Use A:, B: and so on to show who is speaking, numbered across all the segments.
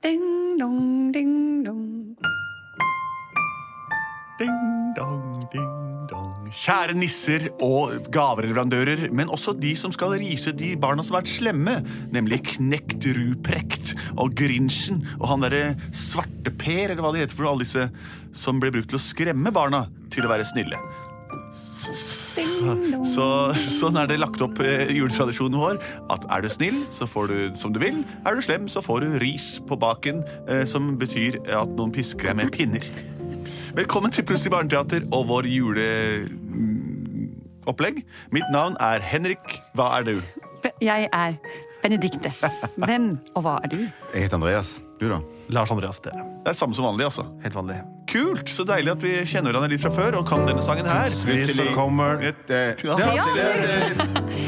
A: Ding dong, ding dong.
B: Ding dong, ding dong. Kjære nisser og gavereleverandører, men også de som skal rise de barna som har vært slemme, nemlig Knekt Ruprekt og Grinchen og han derre Svarteper, eller hva det heter for noe, alle disse som ble brukt til å skremme barna til å være snille.
A: Ding dong.
B: Så, sånn er det lagt opp eh, i juletradisjonen vår. At er du snill, så får du som du vil. Er du slem, så får du ris på baken, eh, som betyr at noen pisker deg med pinner. Velkommen til Plutselig barneteater og vår juleopplegg. Mitt navn er Henrik. Hva er du?
A: Be- Jeg er Benedikte. Hvem og hva er du?
C: Jeg heter Andreas. Du, da?
D: Lars Andreas, det er
B: Det er samme som vanlig, altså.
D: helt vanlig.
B: Kult! Så deilig at vi kjenner hverandre litt fra før og kan denne sangen her.
D: Plutselig så kommer
C: Et, eh,
B: Ja.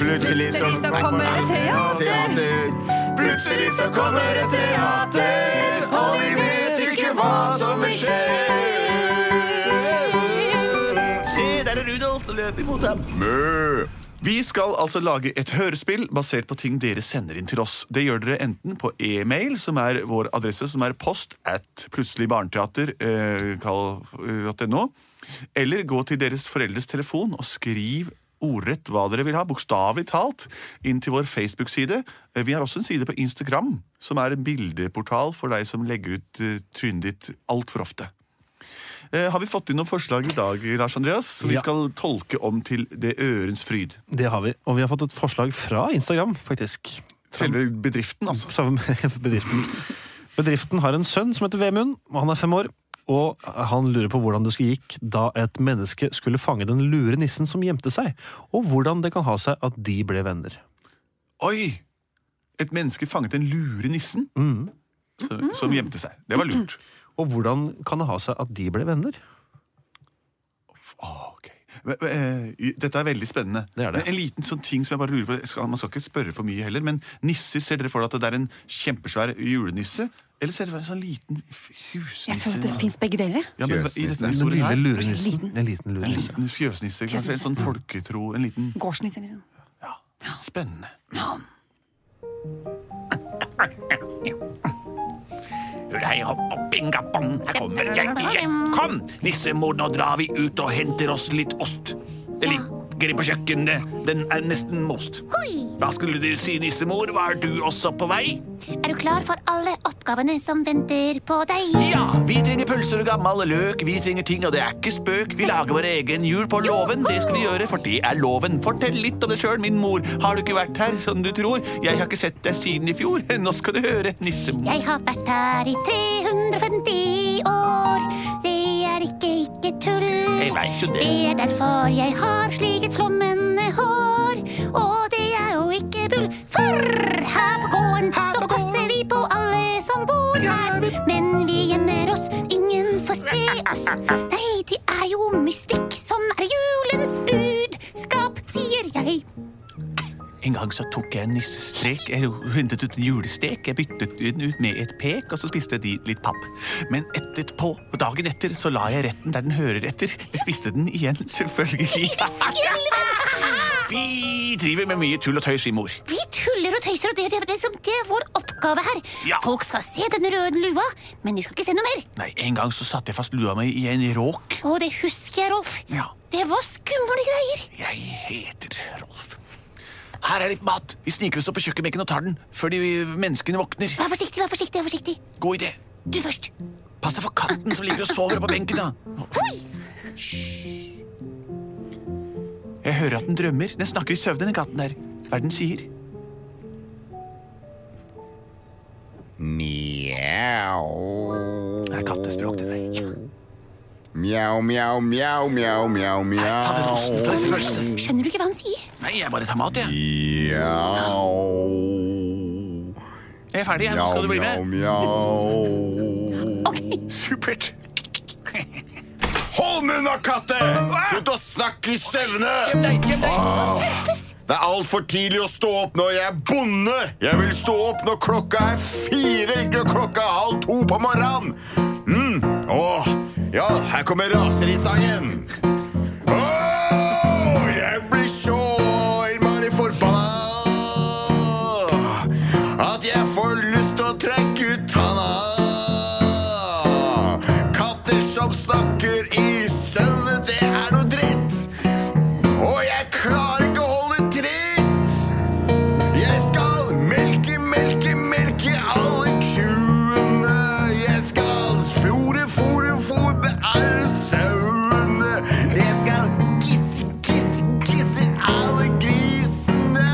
C: Plutselig så
A: Plutselig så kommer det teater.
C: teater. Plutselig så kommer et teater, og vi vet ikke hva som vil skje.
B: Se, der er Rudolf og løper imot ham. Mø. Vi skal altså lage et hørespill basert på ting dere sender inn til oss. Det gjør dere enten på e-mail, som er vår adresse, som er post at eh, plutseligbarneteater.no, eller gå til deres foreldres telefon og skriv ordrett hva dere vil ha, bokstavelig talt, inn til vår Facebook-side. Eh, Vi har også en side på Instagram, som er en bildeportal for deg som legger ut eh, trynet ditt altfor ofte. Eh, Har vi fått inn noen forslag i dag, Lars Andreas? Som
D: Ja.
B: vi skal tolke om til det ørens fryd.
D: Det har vi. Og vi har fått et forslag fra Instagram, faktisk.
B: Selve bedriften, altså.
D: Sammen med bedriften. Bedriften har en sønn som heter Vemund, og han er fem år. Og han lurer på hvordan det skulle gikk da et menneske skulle fange den lure nissen som gjemte seg, og hvordan det kan ha seg at de ble venner.
B: Oi! Et menneske fanget den lure nissen
D: Mm.
B: som,
A: Mm.
B: som gjemte seg. Det var lurt.
D: Og hvordan kan det ha seg at de ble venner?
B: Åh, ok. Men, men, eh, Dette er veldig spennende.
D: Det er det.
B: Men En liten sånn ting som jeg bare lurer på jeg skal, Man skal ikke spørre for mye heller, men nisser, ser dere for dere at det er en kjempesvær julenisse? Eller ser dere for dere en sånn liten husnisse?
A: Jeg føler at det fins begge deler.
B: ja, men, i
C: Fjøsnisse.
B: denne
D: Den
B: historien
D: lille
B: her,
D: lure nissen. En liten lure
B: en
D: nisse.
B: liten fjøsnisse. Kanskje en sånn folketro. En liten
A: Gårdsnisse, liksom.
B: Ja, spennende.
E: Hør hei, hopp og binga bong, her kommer jeg igjen. Kom, nissemor, nå drar vi ut og henter oss litt ost. Det ligger på kjøkkenet, den er nesten most.
F: Hoi!
E: Hva skulle du si, nissemor, var du også på vei?
F: Er du klar for alle oppgavene som venter på deg?
E: Ja, vi trenger pølser og gammel løk, vi trenger ting, og det er ikke spøk. Vi lager vår egen jul på låven, det skal vi gjøre, for det er loven. Fortell litt om det sjøl, min mor. Har du ikke vært her, som du tror? Jeg har ikke sett deg siden i fjor. Nå skal du høre, nissemor.
F: Jeg har vært her i 350 år. Det er ikke ikke tull.
E: Jeg vet jo det.
F: Det er derfor jeg har sliket flommende hår. Og det er jo ikke bull, for her på gården så passer vi på alle som bor her. Men vi gjemmer oss, ingen får se oss. Nei, det er jo mystikk som er julens budskap, sier jeg.
E: En gang så tok jeg en nissestrek, jeg hundet ut en julestek, jeg byttet den ut med et pek, og så spiste de litt papp. Men etterpå, på dagen etter, så la jeg retten der den hører etter. Jeg spiste den igjen, selvfølgelig. Vi driver med mye tull og tøys i mor.
F: Vi tuller og tøyser, og det, det, det, som- det er vår oppgave her.
E: Ja.
F: Folk skal se den røde lua, men de skal ikke se noe mer.
E: Nei, en gang så satte jeg fast lua mi i en råk.
F: Og det husker jeg, Rolf.
E: Ja,
F: Det var skumle greier.
E: jeg heter Rolf. Her er litt mat. Vi sniker oss opp på kjøkkenbenken og tar den, før de menneskene våkner.
F: Vær forsiktig, vær forsiktig. vær forsiktig.
E: God idé.
F: Du først.
E: Pass deg for katten som ligger og sover på benken, da.
F: Hoi!
E: Jeg hører at den drømmer. Den snakker i søvne, den katten der. Hva er det den sier?
C: Mjau.
E: Det er kattespråk, det der.
C: Mjau, mjau, mjau, mjau, mjau,
E: Ta den osten, ta
C: mjau.
E: disse pølsene.
F: Skjønner du ikke hva han sier?
E: Nei, jeg bare tar mat, jeg.
C: Mjau.
B: Jeg er ferdig, jeg. Nå skal du bli med.
C: mjau.
F: Ok,
B: Supert.
C: Hold munn, da, katte! Slutt å snakke i søvne! Ah.
B: Gjem deg, gjem deg.
C: Det er altfor tidlig å stå opp når jeg er bonde. Jeg vil stå opp når klokka er fire, ikke når klokka er halv to på morgenen. Mm. Åh, ja, her kommer raserisangen. Åh, jeg blir så innmari forbanna at jeg får lyst til å trekke ut tanna. Katter som snakker i søvne, det er noe dritt. Og jeg klarer ikke å holde tritt! Jeg skal melke, melke, melke alle kuene. Jeg skal fôre, fôre, fôre med alle sauene. Jeg skal gisse, gisse, gisse alle grisene.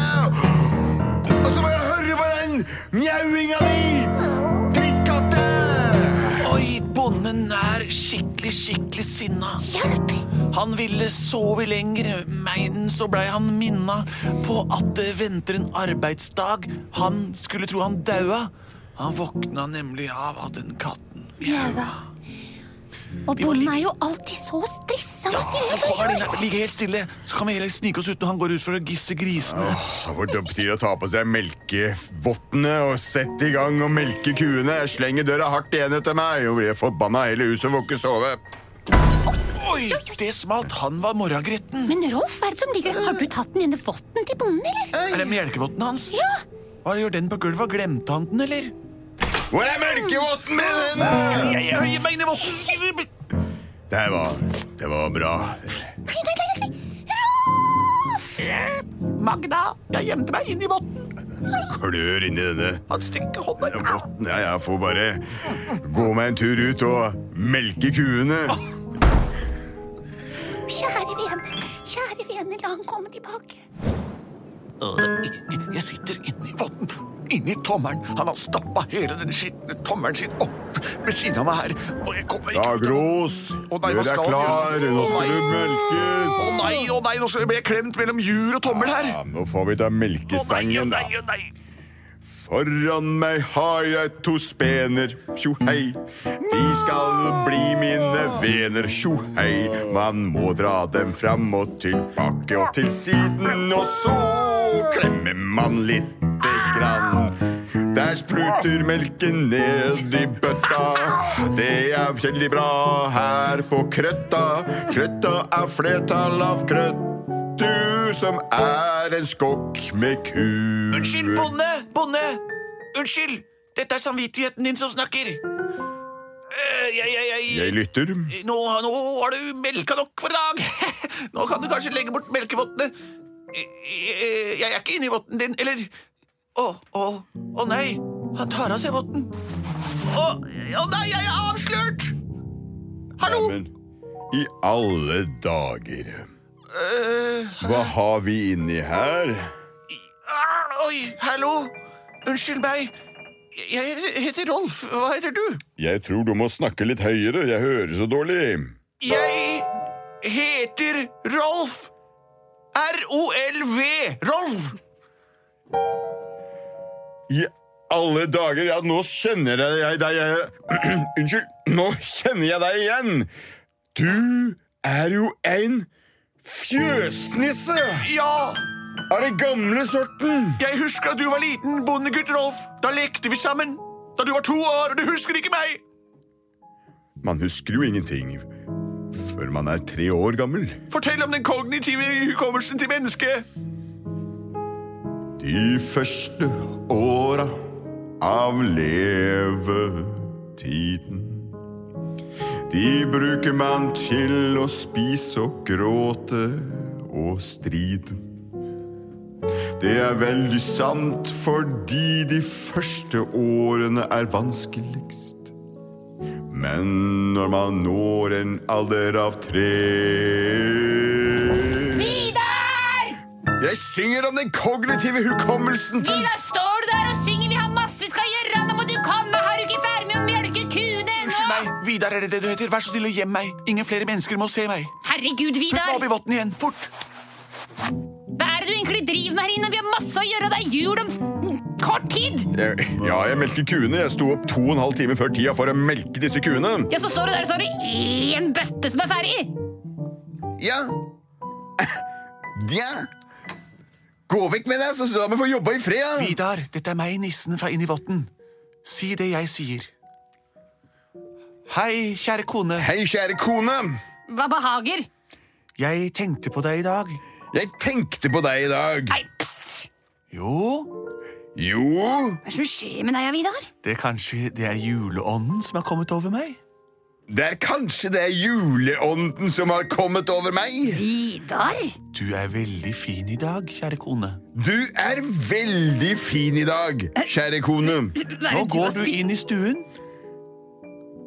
C: Og så må jeg høre på den mjauinga di! Drittkatte!
B: Oi, bonden er skikkelig, skikkelig sinna.
F: hjelp!
B: Han ville sove lenger, men så blei han minna på at det venter en arbeidsdag. Han skulle tro han daua. Han våkna nemlig av at den katten mjaua. må
F: Og bonden
B: ligge-
F: er jo alltid så stressa
B: Ja,
F: og sinna.
B: han
F: for
B: kommer
F: jul.
B: inn her. Ligg helt stille, så kan vi heller snike oss ut når han går ut for å gisse grisene.
C: Ah, Hvor dumt tid å ta på seg melkevottene og sette i gang og melke kuene. Jeg slenger døra hardt igjen etter meg og blir forbanna hele huset og får ikke sove.
B: Oi, det smalt. Han var morgengretten.
F: Men Rolf, hva er det som ligger der? Har du tatt den ene votten til bonden, eller?
B: Er det melkevotten hans?
F: Ja!
B: Hva gjør den på gulvet? Glemte han den, eller?
C: Hvor er melkevotten min? henne?
B: Jeg jeg høyer meg inn i votten.
C: Det her var, det var bra.
F: Nei, nei, nei, nei.
B: Magda, jeg gjemte meg inn i votten.
C: Klør inni denne
B: Han stikker hånda
C: denne votten. Ja, jeg får bare gå meg en tur ut og melke kuene.
F: Kjære vene, kjære vene, la han komme tilbake.
B: Jeg sitter inni votten. Inni tommelen. Han har stappa hele den skitne tommelen sin opp ved siden av meg her. Og jeg kommer
C: Da,
B: ikke ut av-
C: Gros,
B: Å nei,
C: gjør
B: hva
C: deg
B: skal han
C: klar.
B: gjøre?
C: Nå skal du melkes.
B: Å nei, å nei, nå skal- ble jeg klemt mellom jur og tommel her.
C: Ja, nå får vi ta
B: Å nei, å
C: melkesangen, da.
B: nei, å nei.
C: Foran meg har jeg to spener, tjo hei. De skal bli mine vener, tjo hei. Man må dra dem fram og tilbake og til siden, og så klemmer man lite grann. Der spruter melken ned i bøtta. Det er veldig bra her på krøtta. Krøtta er flertall av krøtt. Du som er en skokk med kuer.
B: Unnskyld, bonde! Bonde! Unnskyld! Dette er samvittigheten din som snakker. Eh, Jeg, jeg, jeg,
C: Jeg lytter.
B: Nå, nå har du melka nok for i dag. Nå kan du kanskje legge bort melkevottene. Jeg, jeg- jeg er ikke inni votten din, eller Å, å, å nei. Han tar av seg votten. Å, å nei, jeg er avslørt! Hallo!
C: Men i alle dager
B: Eh,
C: Hva har vi inni her?
B: ah, oi, hallo! Unnskyld meg. Jeg heter Rolf. Hva heter du?
C: Jeg tror du må snakke litt høyere. Jeg hører så dårlig.
B: Jeg heter Rolf. R-O-L-V. Rolf.
C: I alle dager! Ja, nå kjenner jeg jeg deg jeg, Unnskyld. Nå kjenner jeg deg igjen! Du er jo en fjøsnisse
B: Ja,
C: av den gamle sorten!
B: jeg husker at du var liten, bondegutt Rolf. Da lekte vi sammen. Da du var to år, og du husker ikke meg.
C: Man husker jo ingenting før man er tre år gammel.
B: Fortell om den kognitive hukommelsen til mennesket.
C: De første åra av levetiden De bruker man til å spise og gråte og stride Det er veldig sant fordi de første årene er vanskeligst Men når man når en alder av tre
F: Vidar!
C: jeg synger om den kognitive hukommelsen til
F: Vidar, står du der og synger? Vi har masse vi skal gjøre. Nå må du komme. Har du ikke ferdig med å melke kuene
B: Unnskyld
F: ennå?
B: meg. Vidar er det det du heter. Vær så snill og gjem meg. Ingen flere mennesker må se meg.
F: Herregud,
B: Putt meg opp
F: Vidar.
B: i votten igjen. Fort.
F: Hva er det du egentlig driver med her inne? Vi har masse å gjøre. Det er jul om
A: kort tid!
C: Jeg, ja, jeg melker kuene. Jeg sto opp to og en halv time før tida for å melke disse kuene.
A: Ja, så står det der, så har du én bøtte som er ferdig!
C: Ja. Ja. Gå vekk med deg, så la meg få jobba i fred.
B: Vidar, dette er meg, nissen fra inni votten. Si det jeg sier. Hei, kjære kone.
C: Hei, kjære kone.
A: Hva behager?
B: Jeg tenkte på deg i dag.
C: Jeg tenkte på deg i dag.
A: Nei, pss!
B: Jo,
C: Jo,
A: Hva er det som skjer med deg, Vidar?
B: det er kanskje det er juleånden som har kommet over meg.
C: det er kanskje det er juleånden som har kommet over meg.
A: Vidar?
B: Du er veldig fin i dag, kjære kone.
C: Du er veldig fin i dag, kjære kone.
A: Hva er
B: Nå
A: det du har
B: går du
A: spist?
B: inn i stuen.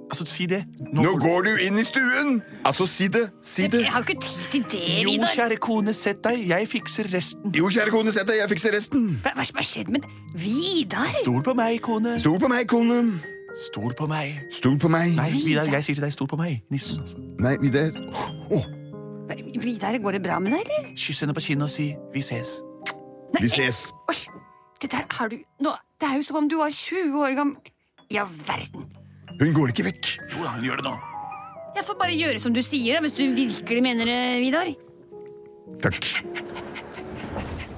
B: Altså, si det.
C: Nå går du inn i stuen. Altså, si det. Si det.
A: Jeg har jo ikke tid til det,
B: Jo,
A: Vidar.
B: kjære kone, sett deg. Jeg fikser resten.
C: Jo, kjære kone, sett deg. Jeg fikser resten.
A: Hva hva er det som har skjedd med Vidar?
B: Stol på meg, kone.
C: Stol på meg, kone.
B: Stol på meg.
C: Stol på meg.
B: Nei, Vidar, jeg sier til deg stol på meg. Nissen, altså.
C: Nei, Vidar. Å,
A: Hva- Vidar, går det bra med deg, eller?
B: Kyss henne på kinnet og si 'vi ses'.
A: Nei,
C: vi ses.
A: Oi, det der har du nå, Det er jo som om du var 20 år gammel. Ja, verden.
C: Hun går ikke vekk.
B: Jo da, hun gjør det nå.
A: Jeg får bare gjøre som du sier, da, hvis du virkelig mener det, Vidar.
C: Takk.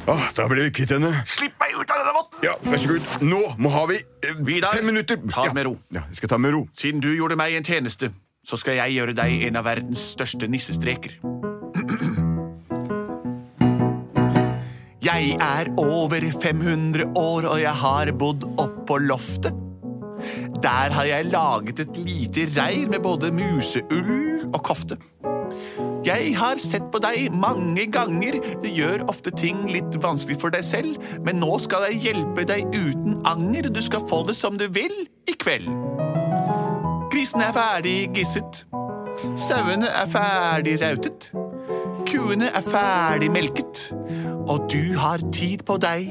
C: Åh, da ble vi kvitt henne.
B: Slipp meg ut av denne votten!
C: Ja, vær så god. Nå må har vi eh,
B: Vidar,
C: fem minutter.
B: ta det
C: ja.
B: med ro.
C: Ja, jeg skal ta det med ro.
B: Siden du gjorde meg en tjeneste, så skal jeg gjøre deg en av verdens største nissestreker. Jeg er over 500 år, og jeg har bodd oppå loftet. Der har jeg laget et lite reir med både museull og kofte. Jeg har sett på deg mange ganger. Du gjør ofte ting litt vanskelig for deg selv, men nå skal jeg hjelpe deg uten anger. Du skal få det som du vil i kveld. Grisene er ferdig gisset. Sauene er ferdig rautet. Kuene er ferdig melket. Og du har tid på deg.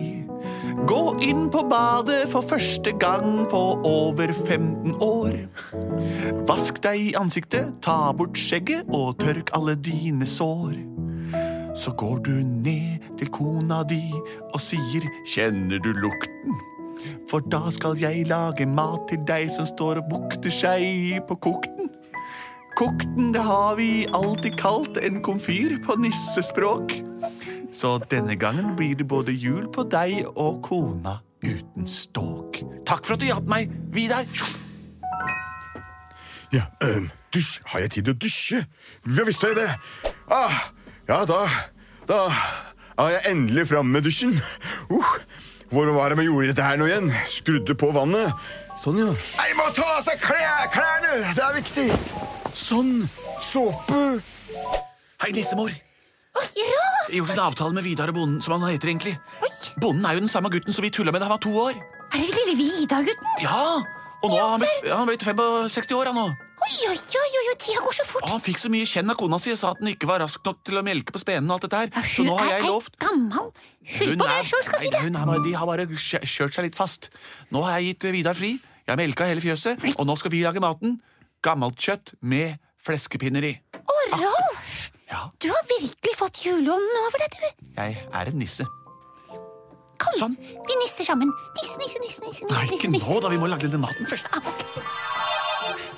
B: Gå inn på badet for første gang på over 15 år. Vask deg i ansiktet, ta bort skjegget og tørk alle dine sår. Så går du ned til kona di og sier 'Kjenner du lukten?' For da skal jeg lage mat til deg som står og bukter seg på kokten. Kokten, det har vi alltid kalt en komfyr på nissespråk. Så denne gangen blir det både jul på deg og kona uten ståk. Takk for at du hjalp meg, Vidar.
C: Ja, øhm, dusj. Har jeg tid til å dusje? Ja visst har jeg det. Ah, ja, da Da er jeg endelig framme med dusjen. Uh, hvor var det vi gjorde dette her nå igjen? Skrudde på vannet. Sånn, ja. Nei, må ta av seg klær, klærne! Det er viktig. Sånn. Såpe.
B: Hei, nissemor.
F: Oi, Rolf!
B: Jeg gjorde en avtale med Vidar og bonden, som han heter egentlig. Bonden er jo den samme gutten som vi tulla med da han var to år.
F: Er det lille Vidar, gutten?
B: Ja, Og nå har han blitt, han har blitt 65 år, han nå.
F: Oi, oi, oi, oi, oi, tida går så fort.
B: Og Ah, han fikk så mye kjenn av kona si og sa at den ikke var rask nok til å melke på spenen. og alt dette
F: Ja,
B: her. Så
F: hun
B: nå har
F: er
B: jeg
F: ei
B: lovt
F: Gammel. Hun på meg sjøl skal si
B: nei,
F: det.
B: Hun er bare, de har bare kjø- kjørt seg litt fast. Nå har jeg gitt eh, Vidar fri. Jeg har melka hele fjøset, og nå skal vi lage maten. Gammelt kjøtt med fleskepinner i.
F: Å, Rolf!
B: Ja,
F: Du har virkelig fått juleånden over deg, du.
B: jeg er en nisse.
F: Kom,
B: Sånn.
F: vi nisser sammen. Nisse, nisse, nisse, nisse,
B: Nei,
F: nisse, Ah,
B: ikke nå, da. Vi må lage denne maten først.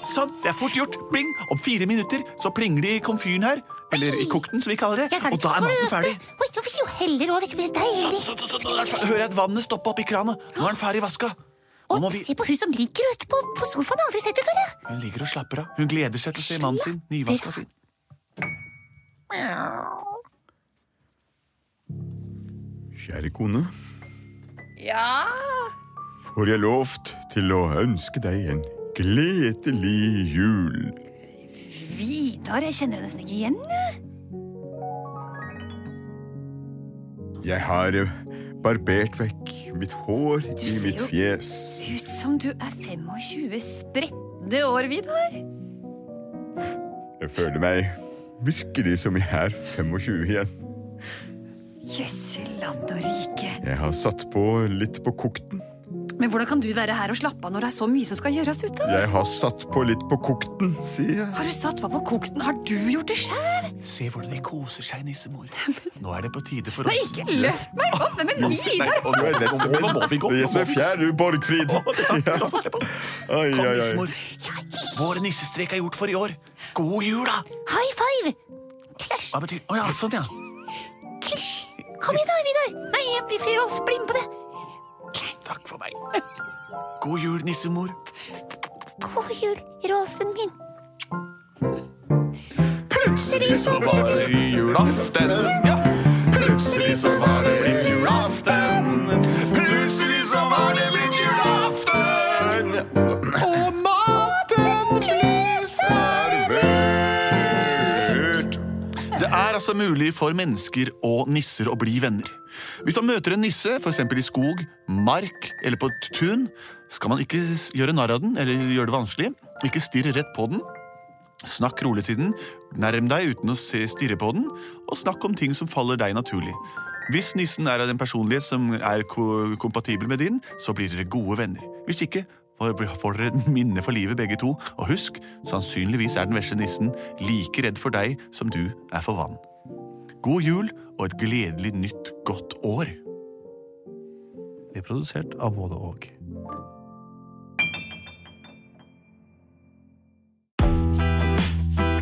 B: Sånn, det er fort gjort. Pling. Om fire minutter så plinger de i komfyren her. Eller i kokten, som vi kaller det.
F: Jeg tar
B: Og
F: litt
B: da er maten
F: fløte.
B: ferdig. Sånn.
F: Oi, jeg vil jo heller over, det blir deilig.
B: Så, så, så, nå er det fer- hører jeg at vannet stopper opp i krana. Nå er den ferdig vaska. Nå
F: Og
B: må vi...
F: se på hun som ligger ute på, på sofaen. Jeg har Aldri sett det før. jeg.
B: Hun ligger og slapper av. Hun gleder seg til å se mannen sin nyvaska og fin.
C: Kjære kone,
A: Ja,
C: får jeg lovt til å ønske deg en gledelig jul.
A: Vidar. Jeg kjenner deg nesten ikke igjen.
C: Jeg har eh, barbert vekk mitt hår
A: Du
C: i
A: ser
C: mitt
A: jo-
C: fjes.
A: Ut som du er 25 spredte år, Vidar.
C: Jeg føler meg virkelig som jeg er 25 igjen.
A: Jøsse land og rike.
C: Jeg har satt på litt på kokten.
A: Men hvordan kan du være her og slappe av når det er så mye som skal gjøres ute?
C: Jeg har satt på litt på kokten, sier jeg.
A: Har du satt på på kokten? Har du gjort det sjæl?
G: Se hvordan de koser seg, nissemor. Nå er det på tide for
A: Nei,
G: oss.
A: ikke løft meg opp! Nei, men Vidar!
G: og nå er det som en- Nå må vi gå.
C: Det er som en fjær, du, Borgfrid. Ja. Ai,
G: Kom,
C: ai, ai.
G: nissemor. Vår nissestrek er gjort for i år. God jul, da!
F: High five! Klasj,
G: Hva betyr Å ja, sånn, ja.
F: klasj. Kom igjen, da, Vidar. Nei, jeg blir fyr off. Bli med på det.
G: Takk for meg. God jul, nissemor.
F: God jul, Rolfen min.
C: Plutselig så var det julaften. Ja. Plutselig så var det blitt julaften. Plutselig så var det blitt julaften. Og maten ble servert.
B: Det er altså mulig for mennesker og nisser å bli venner. Hvis man møter en nisse, f.eks. i skog, mark eller på et tun, skal man ikke s- gjøre narr av den eller gjøre det vanskelig. Ikke stirre rett på den. Snakk rolig til den, nærm deg uten å se stirre på den, og snakk om ting som faller deg naturlig. Hvis nissen er av den personlighet som er ko kompatibel med din, så blir dere gode venner. Hvis ikke, får dere et minne for livet begge to, og husk, sannsynligvis er den vesle nissen like redd for deg som du er for vann. God jul og et gledelig nytt godt år.
D: Vi er produsert av både og.